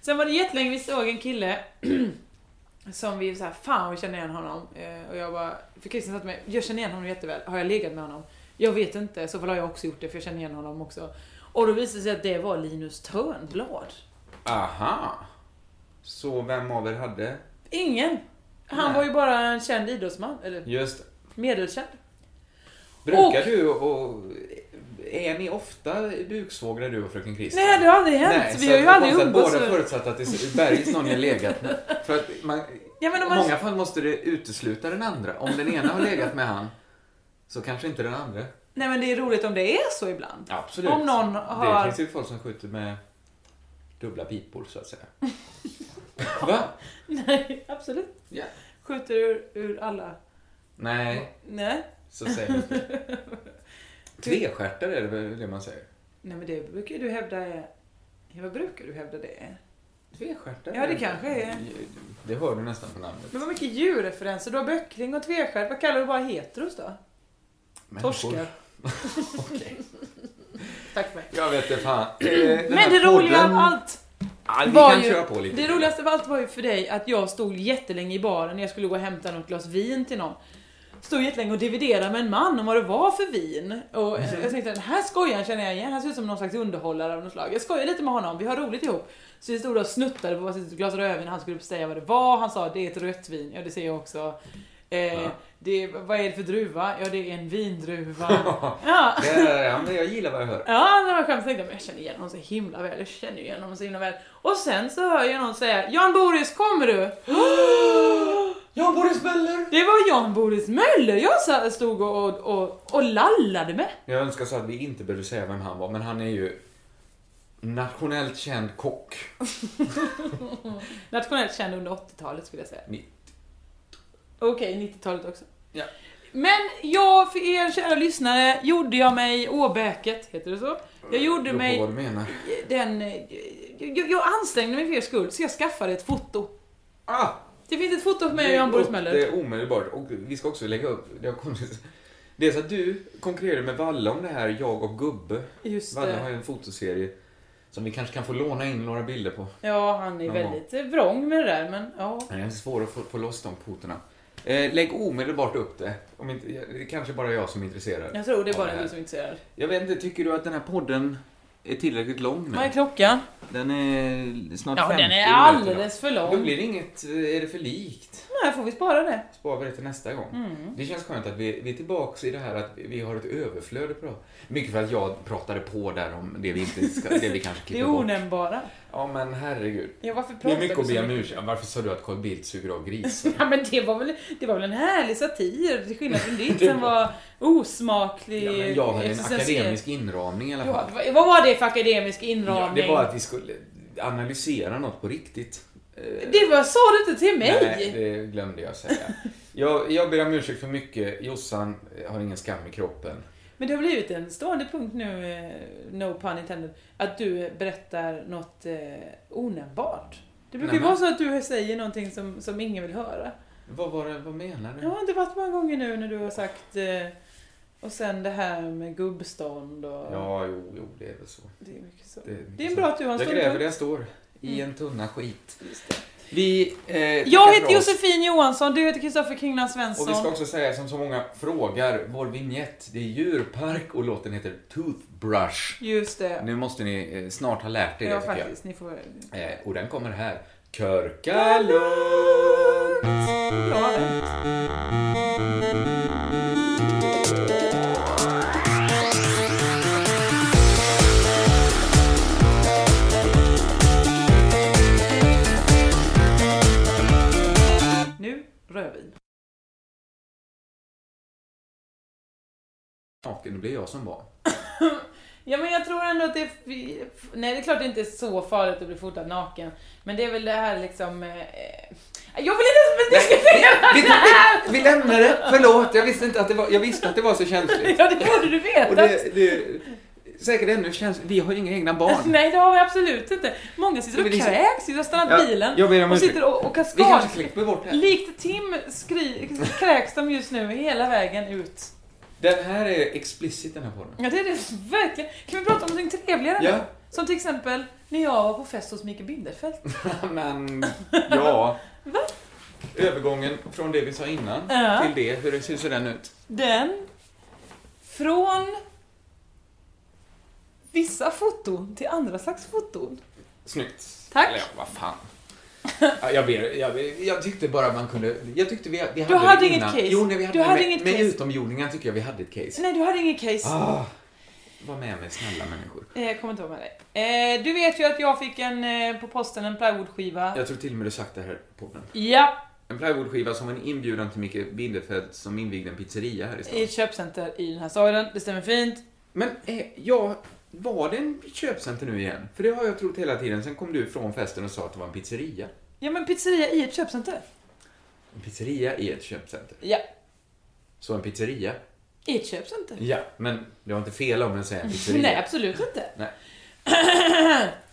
[SPEAKER 3] Sen var det jättelänge vi såg en kille som vi så här, fan vi känner igen honom. Eh, och jag bara, för Christian sa till mig, jag känner igen honom jätteväl. Har jag legat med honom? Jag vet inte, i så fall har jag också gjort det för jag känner igen honom också. Och då visade det sig att det var Linus Törnblad.
[SPEAKER 2] Aha! Så vem av er hade?
[SPEAKER 3] Ingen! Han
[SPEAKER 2] Nej.
[SPEAKER 3] var ju bara en känd idrottsman, eller
[SPEAKER 2] Just
[SPEAKER 3] medelkänd.
[SPEAKER 2] Brukar
[SPEAKER 3] Och-
[SPEAKER 2] du och... Är ni ofta buksvågare du och fröken Christian?
[SPEAKER 3] Nej, det har aldrig hänt.
[SPEAKER 2] Nej, så
[SPEAKER 3] vi har
[SPEAKER 2] att
[SPEAKER 3] ju
[SPEAKER 2] det är
[SPEAKER 3] aldrig
[SPEAKER 2] konstigt att
[SPEAKER 3] umgåtts.
[SPEAKER 2] Båda förutsatt att det är bergis någon ni har legat med. För att man,
[SPEAKER 3] Ja, men om
[SPEAKER 2] I
[SPEAKER 3] man-
[SPEAKER 2] många fall måste det utesluta den andra. Om den ena har legat med han, så kanske inte den andra.
[SPEAKER 3] Nej men det är roligt om det är så ibland.
[SPEAKER 2] Absolut.
[SPEAKER 3] Om någon
[SPEAKER 2] Det
[SPEAKER 3] har-
[SPEAKER 2] finns ju folk som skjuter med dubbla pipor, så att säga. Va?
[SPEAKER 3] Nej, absolut.
[SPEAKER 2] Ja.
[SPEAKER 3] Skjuter ur, ur alla.
[SPEAKER 2] Nej,
[SPEAKER 3] Nej.
[SPEAKER 2] så säger man inte. Tvestjärtar är det väl det man säger?
[SPEAKER 3] Nej men det brukar ju du hävda är... Ja, Vad brukar du hävda det är?
[SPEAKER 2] Tvestjärtar?
[SPEAKER 3] Ja, det kanske är.
[SPEAKER 2] Det hör du nästan på namnet.
[SPEAKER 3] Men vad mycket djurreferenser. Du har böckling och tvestjärt. Vad kallar du bara heteros då?
[SPEAKER 2] Människor.
[SPEAKER 3] Torskar. Tack för mig.
[SPEAKER 2] Jag vet inte fan. Eh, den här
[SPEAKER 3] Men det roliga
[SPEAKER 2] podden-
[SPEAKER 3] av allt
[SPEAKER 2] Ja, vi
[SPEAKER 3] var
[SPEAKER 2] kan
[SPEAKER 3] ju,
[SPEAKER 2] köra på lite.
[SPEAKER 3] Det roligaste av allt var ju för dig att jag stod jättelänge i baren när jag skulle gå och hämta något glas vin till någon. Stod jättelänge och dividerade med en man om vad det var för vin. Och
[SPEAKER 2] Mm.
[SPEAKER 3] eh, jag tänkte den här skojaren känner jag igen, han ser ut som någon slags underhållare av något slag. Jag skojar lite med honom, vi har roligt ihop. Så vi stod och snuttade på varsitt glas rödvin, han skulle säga vad det var, han sa det är ett rött vin, ja det ser jag också. Eh,
[SPEAKER 2] Ja.
[SPEAKER 3] det, vad är det för druva? Ja det är en vindruva. ja.
[SPEAKER 2] Eh, ja, men jag gillar vad jag hör.
[SPEAKER 3] Ja, det var skönt. Jag tänkte, men jag känner igen honom så himla väl. Jag känner ju igen honom så himla väl. Och sen så hör jag någon säga, Jan Boris kommer du? Jan Boris Möller! Det var Jan Boris Möller jag sa- stod och, och, och, och lallade med.
[SPEAKER 2] Jag önskar så att vi inte behövde säga vem han var, men han är ju nationellt känd kock.
[SPEAKER 3] Nationellt känd under 80-talet skulle jag säga.
[SPEAKER 2] Ni-
[SPEAKER 3] Okej, 90-talet också.
[SPEAKER 2] Ja.
[SPEAKER 3] Men jag, för er kära lyssnare, gjorde jag mig Åbäket, heter det så? Jag gjorde
[SPEAKER 2] Beror på
[SPEAKER 3] mig
[SPEAKER 2] vad du menar.
[SPEAKER 3] den... Jag, jag ansträngde mig för er skull, så jag skaffade ett foto.
[SPEAKER 2] Ah!
[SPEAKER 3] Det finns ett foto på mig och Jan Boris Möller.
[SPEAKER 2] Det är omedelbart. Och vi ska också lägga upp, det har kommit... Dels att du konkurrerade med Valle om det här, jag och Gubbe.
[SPEAKER 3] Just
[SPEAKER 2] Valle
[SPEAKER 3] det.
[SPEAKER 2] har ju en fotoserie som vi kanske kan få låna in några bilder på.
[SPEAKER 3] Ja, han är
[SPEAKER 2] Ja.
[SPEAKER 3] väldigt eh, vrång med det där, men ja.
[SPEAKER 2] Men Det är svårt att få, få loss de poterna. Eh, lägg omedelbart upp det. Om inte, det är kanske bara jag som är intresserad.
[SPEAKER 3] Jag tror det är
[SPEAKER 2] av
[SPEAKER 3] bara
[SPEAKER 2] här.
[SPEAKER 3] du som är intresserad.
[SPEAKER 2] Jag vet inte, tycker du att den här podden är tillräckligt lång nu?
[SPEAKER 3] Vad är klockan?
[SPEAKER 2] Den är snart
[SPEAKER 3] Ja,
[SPEAKER 2] 50
[SPEAKER 3] den är
[SPEAKER 2] minuter
[SPEAKER 3] alldeles för lång.
[SPEAKER 2] Då blir det inget, eh, är det för likt?
[SPEAKER 3] Nej, får vi spara det?
[SPEAKER 2] Sparar vi det till nästa gång.
[SPEAKER 3] Mm.
[SPEAKER 2] Det känns skönt att vi, vi är tillbaka i det här att vi har ett överflöd att prata Mycket för att jag pratade på där om det vi inte ska, det vi kanske
[SPEAKER 3] Det
[SPEAKER 2] klipper bort.
[SPEAKER 3] onämnbara.
[SPEAKER 2] Ja men herregud.
[SPEAKER 3] Ja, varför pratar
[SPEAKER 2] Det är mycket
[SPEAKER 3] vi
[SPEAKER 2] att
[SPEAKER 3] så
[SPEAKER 2] be om
[SPEAKER 3] mycket?
[SPEAKER 2] ursäkt. Ja, Varför sa du att Carl Bildt suger av grisar?
[SPEAKER 3] Ja, men det var, väl, det var väl en härlig satir, till skillnad från ditt
[SPEAKER 2] Det
[SPEAKER 3] som var osmaklig.
[SPEAKER 2] Ja, men jag hade en
[SPEAKER 3] existentiell.
[SPEAKER 2] akademisk inramning i alla
[SPEAKER 3] Ja,
[SPEAKER 2] fall.
[SPEAKER 3] vad- vad var det för akademisk
[SPEAKER 2] Ja,
[SPEAKER 3] inramning?
[SPEAKER 2] det var att vi skulle analysera något på riktigt. Eh,
[SPEAKER 3] Det var, sa du inte till mig?
[SPEAKER 2] Nej, det glömde jag säga. Jag, jag ber om ursäkt för mycket. Jossan har ingen skam i kroppen.
[SPEAKER 3] Men det har blivit en stående punkt nu, eh, no pun intended, att du berättar något eh, onämnbart. Det brukar ju
[SPEAKER 2] Nämen.
[SPEAKER 3] vara så att du säger någonting som, som ingen vill höra.
[SPEAKER 2] Vad, var det, vad menar du?
[SPEAKER 3] Jag har inte varit många gånger nu när du har sagt eh, och sen det här med gubbstånd och...
[SPEAKER 2] Ja, jo, jo, det är väl så.
[SPEAKER 3] Det är mycket så.
[SPEAKER 2] Det är, mycket
[SPEAKER 3] Det är
[SPEAKER 2] så.
[SPEAKER 3] bra att du har en
[SPEAKER 2] Jag
[SPEAKER 3] stående
[SPEAKER 2] gräver
[SPEAKER 3] punkt.
[SPEAKER 2] där jag står. I
[SPEAKER 3] Mm.
[SPEAKER 2] en tunna skit.
[SPEAKER 3] Just det.
[SPEAKER 2] Vi eh, tackar
[SPEAKER 3] Jag
[SPEAKER 2] för
[SPEAKER 3] heter
[SPEAKER 2] oss.
[SPEAKER 3] Josefin Johansson, du heter Kristoffer Kringland Svensson.
[SPEAKER 2] Och vi ska också säga som så många frågar, vår vignett, det är djurpark och låten heter Toothbrush.
[SPEAKER 3] Just det.
[SPEAKER 2] Nu måste ni eh, snart ha lärt er det
[SPEAKER 3] ja,
[SPEAKER 2] tycker
[SPEAKER 3] faktiskt. Ni får...
[SPEAKER 2] jag. Eh, och den kommer här. Körkalund!
[SPEAKER 3] Bra den. Nu rödvin.
[SPEAKER 2] Naken, det blir jag som var.
[SPEAKER 3] Ja men jag tror ändå att det är... Nej det är klart det inte är så farligt att bli fotad naken. Men det är väl det här liksom... Eh... Jag vill inte ens diskutera
[SPEAKER 2] Vi,
[SPEAKER 3] det här!
[SPEAKER 2] vi, vi lämnar det, förlåt. Jag visste, inte att det var, jag visste att det var så känsligt.
[SPEAKER 3] Ja det borde du veta.
[SPEAKER 2] Och det, det, säkert ännu känsligt. Vi har ju inga egna barn.
[SPEAKER 3] Nej det har vi absolut inte. Många sitter och
[SPEAKER 2] Men det är så-
[SPEAKER 3] kräks, sitter och stannat
[SPEAKER 2] Ja,
[SPEAKER 3] bilen
[SPEAKER 2] jag ber om
[SPEAKER 3] och
[SPEAKER 2] ursäkt.
[SPEAKER 3] sitter och, och
[SPEAKER 2] Vi kanske
[SPEAKER 3] kaskad.
[SPEAKER 2] klipper bort det här.
[SPEAKER 3] Likt Tim skri, kräks de just nu hela vägen ut.
[SPEAKER 2] Den här är explicit den här podden.
[SPEAKER 3] Ja det är det verkligen. Kan vi prata om någonting trevligare
[SPEAKER 2] Ja.
[SPEAKER 3] nu? Som till exempel när jag var på fest hos Mikael Binderfeldt.
[SPEAKER 2] Men, ja. Övergången från det vi sa innan
[SPEAKER 3] Ja.
[SPEAKER 2] till det, hur ser så den ut?
[SPEAKER 3] Den från vissa foton till andra slags foton.
[SPEAKER 2] Snyggt.
[SPEAKER 3] Tack.
[SPEAKER 2] Eller ja, vad fan. Ja, Jag, ber, jag, ber, jag tyckte bara man kunde... Jag tyckte vi, vi hade
[SPEAKER 3] Du hade
[SPEAKER 2] det
[SPEAKER 3] inget
[SPEAKER 2] innan.
[SPEAKER 3] case.
[SPEAKER 2] Jo, nej, vi hade,
[SPEAKER 3] Du hade
[SPEAKER 2] med,
[SPEAKER 3] inget
[SPEAKER 2] med
[SPEAKER 3] case.
[SPEAKER 2] utomjordingar tycker jag vi hade ett case.
[SPEAKER 3] Nej, du hade ingen case.
[SPEAKER 2] Ah, var med mig, snälla människor.
[SPEAKER 3] Eh, Jag kommer inte ihåg med dig. Eh, du vet ju att jag fick en, eh, på posten en plywoodskiva.
[SPEAKER 2] Jag tror till och med du sagt det här på podden.
[SPEAKER 3] Ja,
[SPEAKER 2] En plywoodskiva som en inbjudan till Micke Binderfeldt som invigde en pizzeria här i
[SPEAKER 3] i
[SPEAKER 2] stan.
[SPEAKER 3] ett köpcenter i den här staden. Det stämmer fint.
[SPEAKER 2] Men eh, jag, var det en köpcenter nu igen? För det har jag trott hela tiden. Sen kom du från festen och sa att det var en pizzeria.
[SPEAKER 3] Ja, men pizzeria i ett köpcenter.
[SPEAKER 2] En pizzeria är ett köpcenter.
[SPEAKER 3] Ja,
[SPEAKER 2] Så en pizzeria?
[SPEAKER 3] i ett köpcenter.
[SPEAKER 2] Ja, men det var inte fel om jag säger en pizzeria.
[SPEAKER 3] Nej, absolut inte.
[SPEAKER 2] Nej.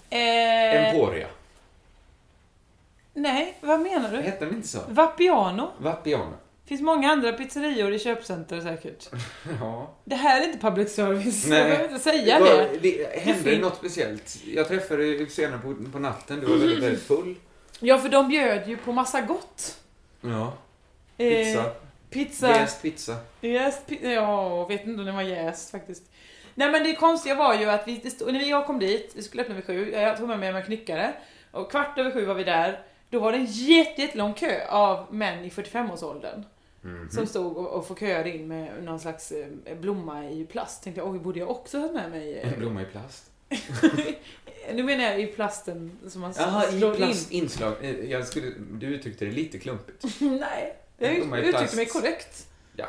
[SPEAKER 3] eh,
[SPEAKER 2] Emporia.
[SPEAKER 3] Nej, vad menar du?
[SPEAKER 2] Hette den inte så?
[SPEAKER 3] Vapiano?
[SPEAKER 2] Vapiano.
[SPEAKER 3] finns många andra pizzerior i köpcenter säkert.
[SPEAKER 2] Ja.
[SPEAKER 3] Det här är inte public service.
[SPEAKER 2] Nej.
[SPEAKER 3] Jag behöver inte säga
[SPEAKER 2] var-
[SPEAKER 3] det.
[SPEAKER 2] det hände
[SPEAKER 3] fin-
[SPEAKER 2] något speciellt. Jag träffade dig senare på, på natten. Du var väldigt,
[SPEAKER 3] Mm.
[SPEAKER 2] väldigt full.
[SPEAKER 3] Ja, för de bjöd ju på massa gott.
[SPEAKER 2] Ja.
[SPEAKER 3] Eh,
[SPEAKER 2] Pizza.
[SPEAKER 3] pizza.
[SPEAKER 2] Jäst pizza.
[SPEAKER 3] Jäst, pi- ja, vet inte om den var jäst faktiskt. Nej men det konstiga var ju att vi, det stod- när jag kom dit, vi skulle öppna vid sju, jag tog med mig en knyckare. Och kvart över sju var vi där. Då var det en jätte- jättelång kö av män i 45-årsåldern.
[SPEAKER 2] Mhm.
[SPEAKER 3] Som stod och, och får köra in med någon slags eh, blomma i plast. Tänkte jag, oj borde jag också ha med mig? eh,
[SPEAKER 2] En blomma i plast.
[SPEAKER 3] Nu menar jag i plasten som man
[SPEAKER 2] Jaha,
[SPEAKER 3] slår
[SPEAKER 2] i
[SPEAKER 3] in.
[SPEAKER 2] plastinslag. Eh, Jag skulle, du uttryckte det lite klumpigt.
[SPEAKER 3] Nej, jag
[SPEAKER 2] De är i
[SPEAKER 3] uttryckte
[SPEAKER 2] plast.
[SPEAKER 3] mig korrekt.
[SPEAKER 2] Ja.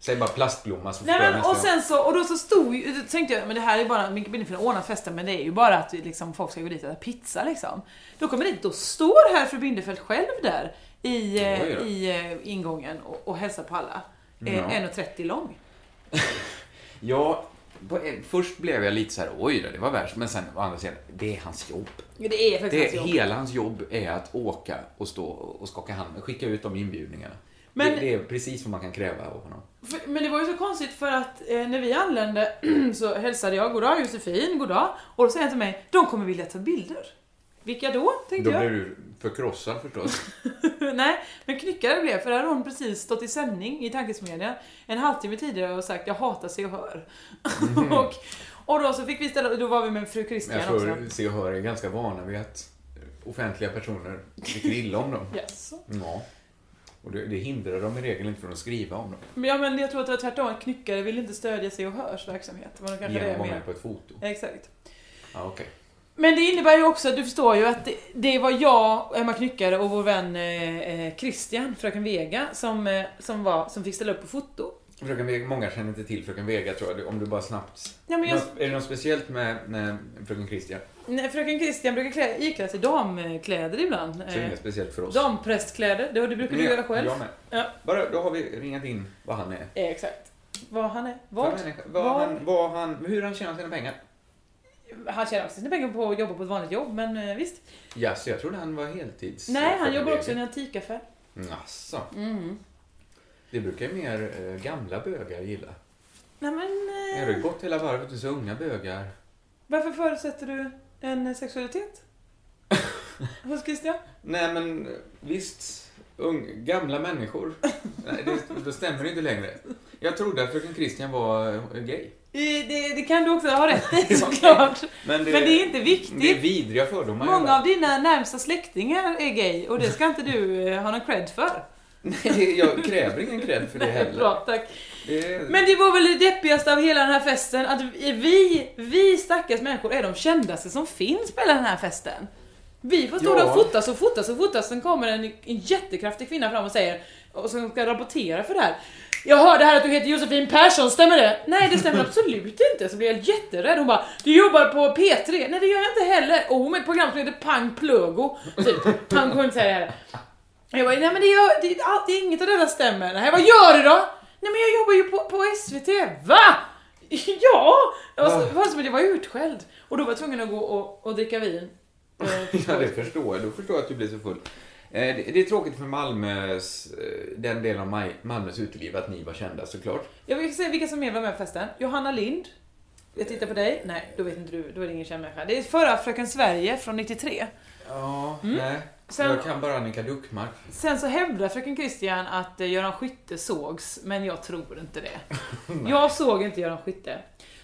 [SPEAKER 2] Säg bara plastblomma så
[SPEAKER 3] Nej,
[SPEAKER 2] förstår jag
[SPEAKER 3] men,
[SPEAKER 2] nästa
[SPEAKER 3] och
[SPEAKER 2] gång.
[SPEAKER 3] sen så, och då så stod ju, då tänkte jag, men det här är bara, Micke Bindefeld har ordnat festen men det är ju bara att vi liksom, folk ska gå dit och äta pizza liksom. Då kommer det, då står här fru Bindefeld själv där i, eh,
[SPEAKER 2] Oj då.
[SPEAKER 3] i eh, ingången och, och hälsar på alla. Eh,
[SPEAKER 2] Ja.
[SPEAKER 3] 1,30 lång.
[SPEAKER 2] Ja, på, eh, först blev jag lite så här, oj då, det var värst. Men sen å andra sidan, det är hans jobb.
[SPEAKER 3] Ja, Det är faktiskt
[SPEAKER 2] Det,
[SPEAKER 3] hans jobb.
[SPEAKER 2] hela hans jobb är att åka och stå och skaka hand, skicka ut de inbjudningarna.
[SPEAKER 3] Men-
[SPEAKER 2] det, det är precis vad man kan kräva av honom.
[SPEAKER 3] För- Men det var ju så konstigt för att eh, när vi anlände så hälsade jag goddag Josefin, goddag. Och då säger han till mig, de kommer vilja ta bilder. Vilka då? Tänkte
[SPEAKER 2] Då
[SPEAKER 3] jag.
[SPEAKER 2] blir du förkrossad förstås.
[SPEAKER 3] Nej, men knyckare blev för där hade hon precis stått i sändning i tankesmedjan en halvtimme tidigare och sagt jag hatar Se och Hör. och, och då så fick vi ställa, då var vi med fru
[SPEAKER 2] Men
[SPEAKER 3] Christian
[SPEAKER 2] Mhm. jag
[SPEAKER 3] också.
[SPEAKER 2] tror Se och Hör är ganska vana vid att offentliga personer tycker illa om dem.
[SPEAKER 3] Yes.
[SPEAKER 2] Ja. Och det, det hindrar dem i regel inte från att skriva om dem.
[SPEAKER 3] Men, ja, men jag tror att det var tvärtom, att knyckare ville inte stödja Se och Hörs verksamhet. Men de kanske
[SPEAKER 2] Genom
[SPEAKER 3] det
[SPEAKER 2] att
[SPEAKER 3] är
[SPEAKER 2] vara
[SPEAKER 3] mer.
[SPEAKER 2] med på ett foto.
[SPEAKER 3] Exakt.
[SPEAKER 2] Ja, okej.
[SPEAKER 3] Men det innebär ju också, du förstår ju att det, det var jag, Emma Knyckare och vår vän eh, eh, Christian, fröken Vega, som, eh, som, var, som fick ställa upp på foto.
[SPEAKER 2] Fröken Vega, många känner inte till Fröken Vega tror jag, om du bara snabbt...
[SPEAKER 3] Ja, men jag-
[SPEAKER 2] Något- Är det något speciellt med, med Fröken Christian?
[SPEAKER 3] Nej, fröken Christian brukar klä, ikläda sig damkläder ibland.
[SPEAKER 2] Så det är
[SPEAKER 3] Eh,
[SPEAKER 2] inget speciellt för oss.
[SPEAKER 3] Damprästkläder, det, det brukar du
[SPEAKER 2] Men jag-
[SPEAKER 3] göra själv.
[SPEAKER 2] Jag med.
[SPEAKER 3] Ja,
[SPEAKER 2] Bara, då har vi ringat in vad han är.
[SPEAKER 3] eh, exakt. Vad han är.
[SPEAKER 2] Vad?
[SPEAKER 3] Vad?
[SPEAKER 2] Vad, vad han, vad han, hur han tjänar sina pengar.
[SPEAKER 3] Han tjänar också sina pengar på att jobba på ett vanligt jobb, men eh, visst.
[SPEAKER 2] Ja, så jag trodde han var heltids...
[SPEAKER 3] Nej, han
[SPEAKER 2] fröken
[SPEAKER 3] jobbar också i en
[SPEAKER 2] Vega.
[SPEAKER 3] antikaffär.
[SPEAKER 2] Jaså?
[SPEAKER 3] Mm.
[SPEAKER 2] Det brukar ju mer eh, gamla bögar gilla.
[SPEAKER 3] Nej men, eh,
[SPEAKER 2] Jag har ju gått hela varvet och så unga bögar.
[SPEAKER 3] varför förutsätter du en sexualitet? Hos Christian?
[SPEAKER 2] Nej men eh, visst, ung, gamla människor. Nej, det, det stämmer inte längre. Jag trodde att fröken Christian var eh, gay.
[SPEAKER 3] Eh, Det, det kan du också ha rätt i såklart.
[SPEAKER 2] Men det-
[SPEAKER 3] men det är inte viktigt.
[SPEAKER 2] Det är vidriga fördomar.
[SPEAKER 3] Många av dina närmsta släktingar är gay och det ska inte du eh, ha någon cred för.
[SPEAKER 2] Nej, jag kräver ingen cred för det heller.
[SPEAKER 3] Bra, tack.
[SPEAKER 2] Det är...
[SPEAKER 3] Men det var väl det deppigaste av hela den här festen att vi, vi stackars människor är de kändaste som finns på hela den här festen. Vi får stå
[SPEAKER 2] Ja.
[SPEAKER 3] där och fotas och fotas och fotas, sen kommer en, en jättekraftig kvinna fram och säger, och som ska rapportera för det här. Jag hörde här att du heter Josefin Persson, stämmer det? Nej det stämmer absolut inte, så blir jag jätterädd. Hon bara, du jobbar på P3? Nej det gör jag inte heller. Och hon är ett program som heter Pang Plögo. Typ, han kommer inte säga det här. Jag bara, nej men det gör, det, allt, det, inget av detta stämmer. Nej, vad gör du då? Nej men jag jobbar ju på, på SVT. Va? Ja! Jag var, så, var som att jag var utskälld. Och då var jag tvungen att gå och, och dricka vin. Eh,
[SPEAKER 2] Ja, det förstår jag. Då förstår jag att du blir så full. Eh, Det det är tråkigt för Malmös, eh, den delen av Maj- Malmös uteliv att ni var kända såklart.
[SPEAKER 3] Jag vill se vilka som mer var med på festen. Johanna Lind. Jag tittar på dig. Nej, då vet inte du. Då är det ingen känd människa. Det är förra Fröken Sverige från 93.
[SPEAKER 2] Ja, nej.
[SPEAKER 3] Mm. Sen-
[SPEAKER 2] Jag kan bara Annika Duckmark.
[SPEAKER 3] Sen så hävdar Fröken Christian att eh, Göran Skytte sågs, men jag tror inte det. jag såg inte Göran Skytte.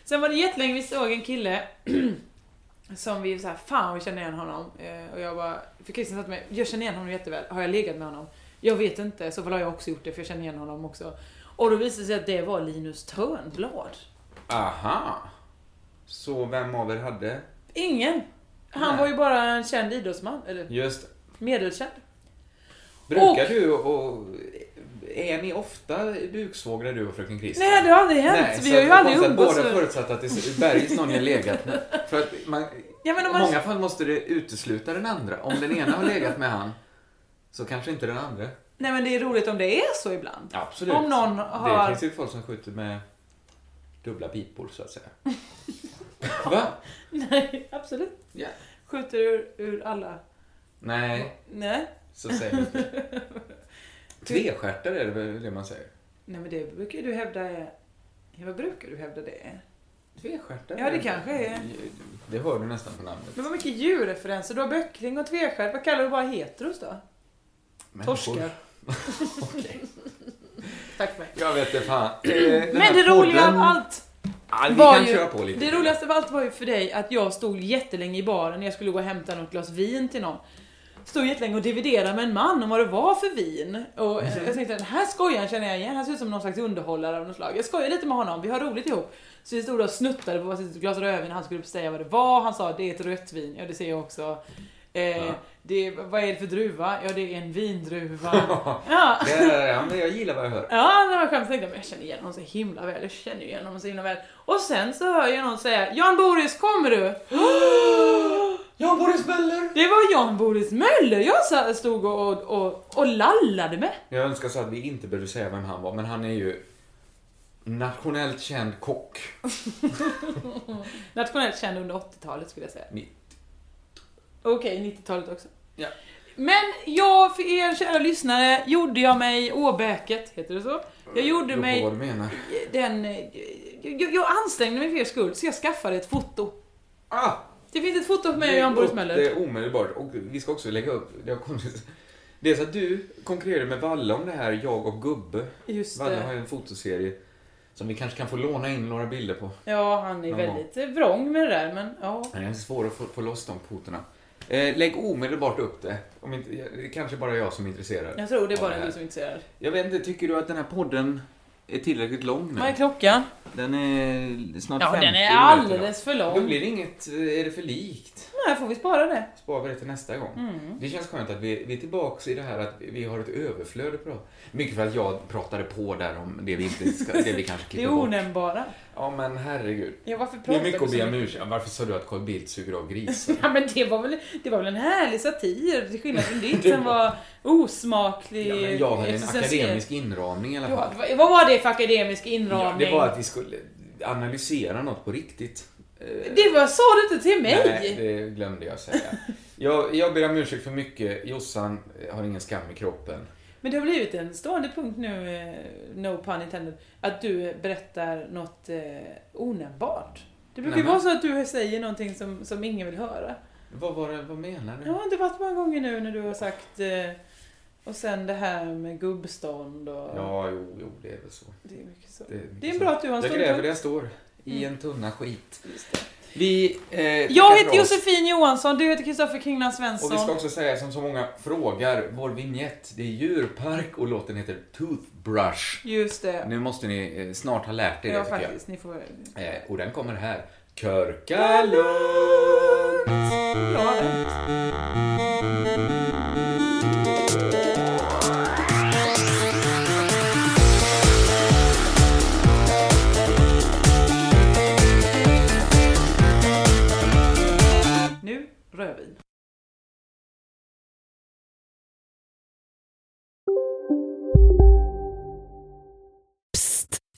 [SPEAKER 3] Sen var det jättelänge vi såg en kille som vi så här, fan vi känner igen honom. Eh, och jag bara, för Christian sa till mig, jag känner igen honom jätteväl. Har jag legat med honom? Jag vet inte, så fall har jag också gjort det för jag känner igen honom också. Och då visade det sig att det var Linus Törnblad.
[SPEAKER 2] Aha! Så vem av er hade?
[SPEAKER 3] Ingen! Han
[SPEAKER 2] Nej.
[SPEAKER 3] var ju bara en känd idrottsman, eller
[SPEAKER 2] Just
[SPEAKER 3] medelkänd.
[SPEAKER 2] Brukar du och... Är ni ofta buksvågare du och fröken Christian?
[SPEAKER 3] Nej, det har aldrig hänt. Vi
[SPEAKER 2] så
[SPEAKER 3] har
[SPEAKER 2] att
[SPEAKER 3] ju
[SPEAKER 2] det är
[SPEAKER 3] aldrig
[SPEAKER 2] konstigt att
[SPEAKER 3] umgåtts
[SPEAKER 2] Båda
[SPEAKER 3] för-
[SPEAKER 2] förutsatt att det är bergis någon ni har legat med. För att man,
[SPEAKER 3] Ja, men om
[SPEAKER 2] I
[SPEAKER 3] man-
[SPEAKER 2] många fall måste det utesluta den andra. Om den ena har legat med han, så kanske inte den andra.
[SPEAKER 3] Nej men det är roligt om det är så ibland.
[SPEAKER 2] Absolut.
[SPEAKER 3] Om någon
[SPEAKER 2] Det
[SPEAKER 3] har...
[SPEAKER 2] finns ju folk som skjuter med dubbla pipor, så att säga. Va?
[SPEAKER 3] Nej, absolut.
[SPEAKER 2] Ja.
[SPEAKER 3] Skjuter ur, ur alla.
[SPEAKER 2] Nej,
[SPEAKER 3] Nej.
[SPEAKER 2] så säger man inte. Tvestjärtar är det väl det man säger?
[SPEAKER 3] Nej men det brukar ju du hävda är... Ja, Vad brukar du hävda det är?
[SPEAKER 2] Tvestjärtar?
[SPEAKER 3] Ja det kanske är.
[SPEAKER 2] Det hör du nästan på namnet.
[SPEAKER 3] Men vad mycket djurreferenser. Du har böckling och tvestjärt. Vad kallar du bara heteros då?
[SPEAKER 2] Människor.
[SPEAKER 3] Torskar. Tack för mig.
[SPEAKER 2] Jag vet inte fan.
[SPEAKER 3] Men det roliga av allt
[SPEAKER 2] Ja, vi
[SPEAKER 3] var
[SPEAKER 2] kan
[SPEAKER 3] ju,
[SPEAKER 2] köra på lite.
[SPEAKER 3] Det roligaste av allt var ju för dig att jag stod jättelänge i baren när jag skulle gå och hämta något glas vin till någon. Stod jättelänge och dividerade med en man om vad det var för vin. Och eh,
[SPEAKER 2] Mm.
[SPEAKER 3] jag tänkte den här skojaren känner jag igen, han ser ut som någon slags underhållare av något slag. Jag skojar lite med honom, vi har roligt ihop. Så vi stod och snuttade på varsitt glas rödvin, han skulle beställa vad det var, han sa det är ett rött vin, ja det ser jag också. Eh,
[SPEAKER 2] Ja.
[SPEAKER 3] det, vad är det för druva? Ja det är en vindruva. ja.
[SPEAKER 2] Ja, ja, ja, men jag gillar vad jag hör.
[SPEAKER 3] Ja, det var skönt. Jag tänkte, men jag känner igen honom så himla väl. Jag känner ju igen honom så himla väl. Och sen så hör jag någon säga, Jan Boris kommer du? Jan Boris Möller! Det var Jan Boris Möller jag sa- stod och, och, och, och lallade med.
[SPEAKER 2] Jag önskar så att vi inte behövde säga vem han var, men han är ju nationellt känd kock.
[SPEAKER 3] Nationellt känd under 80-talet skulle jag säga.
[SPEAKER 2] Ni-
[SPEAKER 3] Okej, 90-talet också.
[SPEAKER 2] Ja.
[SPEAKER 3] Men jag, för er kära lyssnare, gjorde jag mig åbäket, heter det så? Jag gjorde
[SPEAKER 2] Beror på
[SPEAKER 3] mig...
[SPEAKER 2] vad du menar.
[SPEAKER 3] den... eh, Jag, jag ansträngde mig för er skull, så jag skaffade ett foto.
[SPEAKER 2] Ah!
[SPEAKER 3] Det finns ett foto på mig och Jan Boris Möller.
[SPEAKER 2] Det är omedelbart. Och vi ska också lägga upp, det har kommit... Det är så att du konkurrerade med Valle om det här, jag och Gubbe.
[SPEAKER 3] Just
[SPEAKER 2] Valle
[SPEAKER 3] det.
[SPEAKER 2] har ju en fotoserie som vi kanske kan få låna in några bilder på.
[SPEAKER 3] Ja, han
[SPEAKER 2] Någon
[SPEAKER 3] är
[SPEAKER 2] gång.
[SPEAKER 3] väldigt eh, vrång med det där, men ja.
[SPEAKER 2] Det är svårt att få, få loss de kotorna. Eh, lägg omedelbart upp det. Om inte, det är kanske bara jag som är intresserad.
[SPEAKER 3] Jag tror det är
[SPEAKER 2] av
[SPEAKER 3] bara
[SPEAKER 2] här.
[SPEAKER 3] du som är intresserad.
[SPEAKER 2] Jag vet inte, tycker du att den här podden är tillräckligt lång nu?
[SPEAKER 3] Vad är klockan?
[SPEAKER 2] Den är snart
[SPEAKER 3] Ja,
[SPEAKER 2] 50
[SPEAKER 3] den är
[SPEAKER 2] minuter
[SPEAKER 3] alldeles för lång.
[SPEAKER 2] Då blir det inget, eh, är det för likt?
[SPEAKER 3] Nej, får vi spara det?
[SPEAKER 2] Sparar vi det till nästa gång.
[SPEAKER 3] Mm.
[SPEAKER 2] Det känns skönt att vi, vi är tillbaka i det här att vi har ett överflöd att prata Mycket för att jag pratade på där om det vi inte ska, det vi kanske
[SPEAKER 3] Det
[SPEAKER 2] klipper bort.
[SPEAKER 3] onämnbara.
[SPEAKER 2] Ja men herregud.
[SPEAKER 3] Ja, varför pratar
[SPEAKER 2] Det är mycket
[SPEAKER 3] du
[SPEAKER 2] att
[SPEAKER 3] så
[SPEAKER 2] be om
[SPEAKER 3] mycket?
[SPEAKER 2] ursäkt. Ja, Varför sa du att Carl Bildt suger av gris?
[SPEAKER 3] Ja, men det var, väl, det var väl en härlig satir, till skillnad från ditt
[SPEAKER 2] Det
[SPEAKER 3] som var osmaklig.
[SPEAKER 2] Ja, men jag hade en
[SPEAKER 3] existentiell.
[SPEAKER 2] akademisk inramning i alla
[SPEAKER 3] Du
[SPEAKER 2] fall.
[SPEAKER 3] har- vad- Vad var det för akademisk
[SPEAKER 2] Ja,
[SPEAKER 3] inramning?
[SPEAKER 2] det var att vi skulle analysera något på riktigt. Eh,
[SPEAKER 3] Det var, sa du inte till mig?
[SPEAKER 2] Nej, det glömde jag säga. jag, jag ber om ursäkt för mycket. Jossan har ingen skam i kroppen.
[SPEAKER 3] Men det har blivit en stående punkt nu, eh, no pun intended, att du eh, berättar något eh, onämnbart. Det brukar ju
[SPEAKER 2] Nämen.
[SPEAKER 3] vara så att du säger någonting som, som ingen vill höra.
[SPEAKER 2] Vad, var det, vad menar
[SPEAKER 3] Jag
[SPEAKER 2] du?
[SPEAKER 3] har inte varit många gånger nu när du har sagt eh, och sen det här med gubbstånd och...
[SPEAKER 2] Ja, jo, jo, det är väl så.
[SPEAKER 3] Det är mycket så.
[SPEAKER 2] Det mycket
[SPEAKER 3] Det är
[SPEAKER 2] så.
[SPEAKER 3] bra att du har en
[SPEAKER 2] Jag
[SPEAKER 3] stående
[SPEAKER 2] gräver
[SPEAKER 3] punkt.
[SPEAKER 2] där jag står. I
[SPEAKER 3] Mm.
[SPEAKER 2] en tunna skit. Vi eh, tackar
[SPEAKER 3] Jag
[SPEAKER 2] för
[SPEAKER 3] heter
[SPEAKER 2] oss.
[SPEAKER 3] Josefin Johansson, du heter Kristoffer Kringland Svensson.
[SPEAKER 2] Och vi ska också säga som så många frågar, vår vignett, det är djurpark och låten heter Toothbrush.
[SPEAKER 3] Just det.
[SPEAKER 2] Nu måste ni eh, snart ha lärt er det
[SPEAKER 3] ja,
[SPEAKER 2] tycker
[SPEAKER 3] faktiskt. Ni får...
[SPEAKER 2] jag. Eh, och den kommer här. Körkalund!
[SPEAKER 3] Ja, det. Nu, rödvin.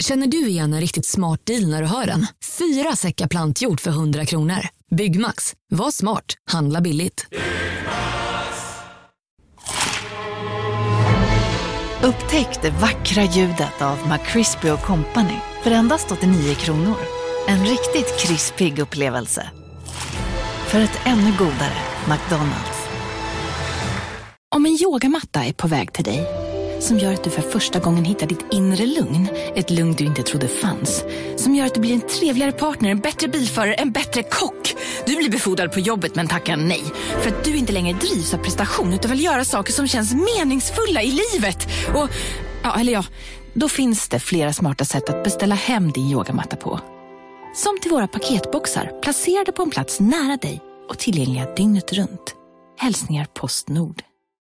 [SPEAKER 9] Känner du igen en riktigt smart deal när du hör den? Fyra säckar plantjord för 100 kronor. Byggmax. Var smart. Handla billigt.
[SPEAKER 10] Upptäck det vackra ljudet av McCrispy Company för endast 89 kronor. En riktigt krispig upplevelse. För ett ännu godare McDonalds.
[SPEAKER 11] Om en yogamatta är på väg till dig, som gör att du för första gången hittar ditt inre lugn, ett lugn du inte trodde fanns, som gör att du blir en trevligare partner, en bättre bilförare, en bättre kock. Du blir befordrad på jobbet men tackar nej, för att du inte längre drivs av prestation utan vill göra saker som känns meningsfulla i livet. Och, ja, eller ja, då finns det flera smarta sätt att beställa hem din yogamatta på. Som till våra paketboxar placerade på en plats nära dig och tillgängliga dygnet runt. Hälsningar Postnord.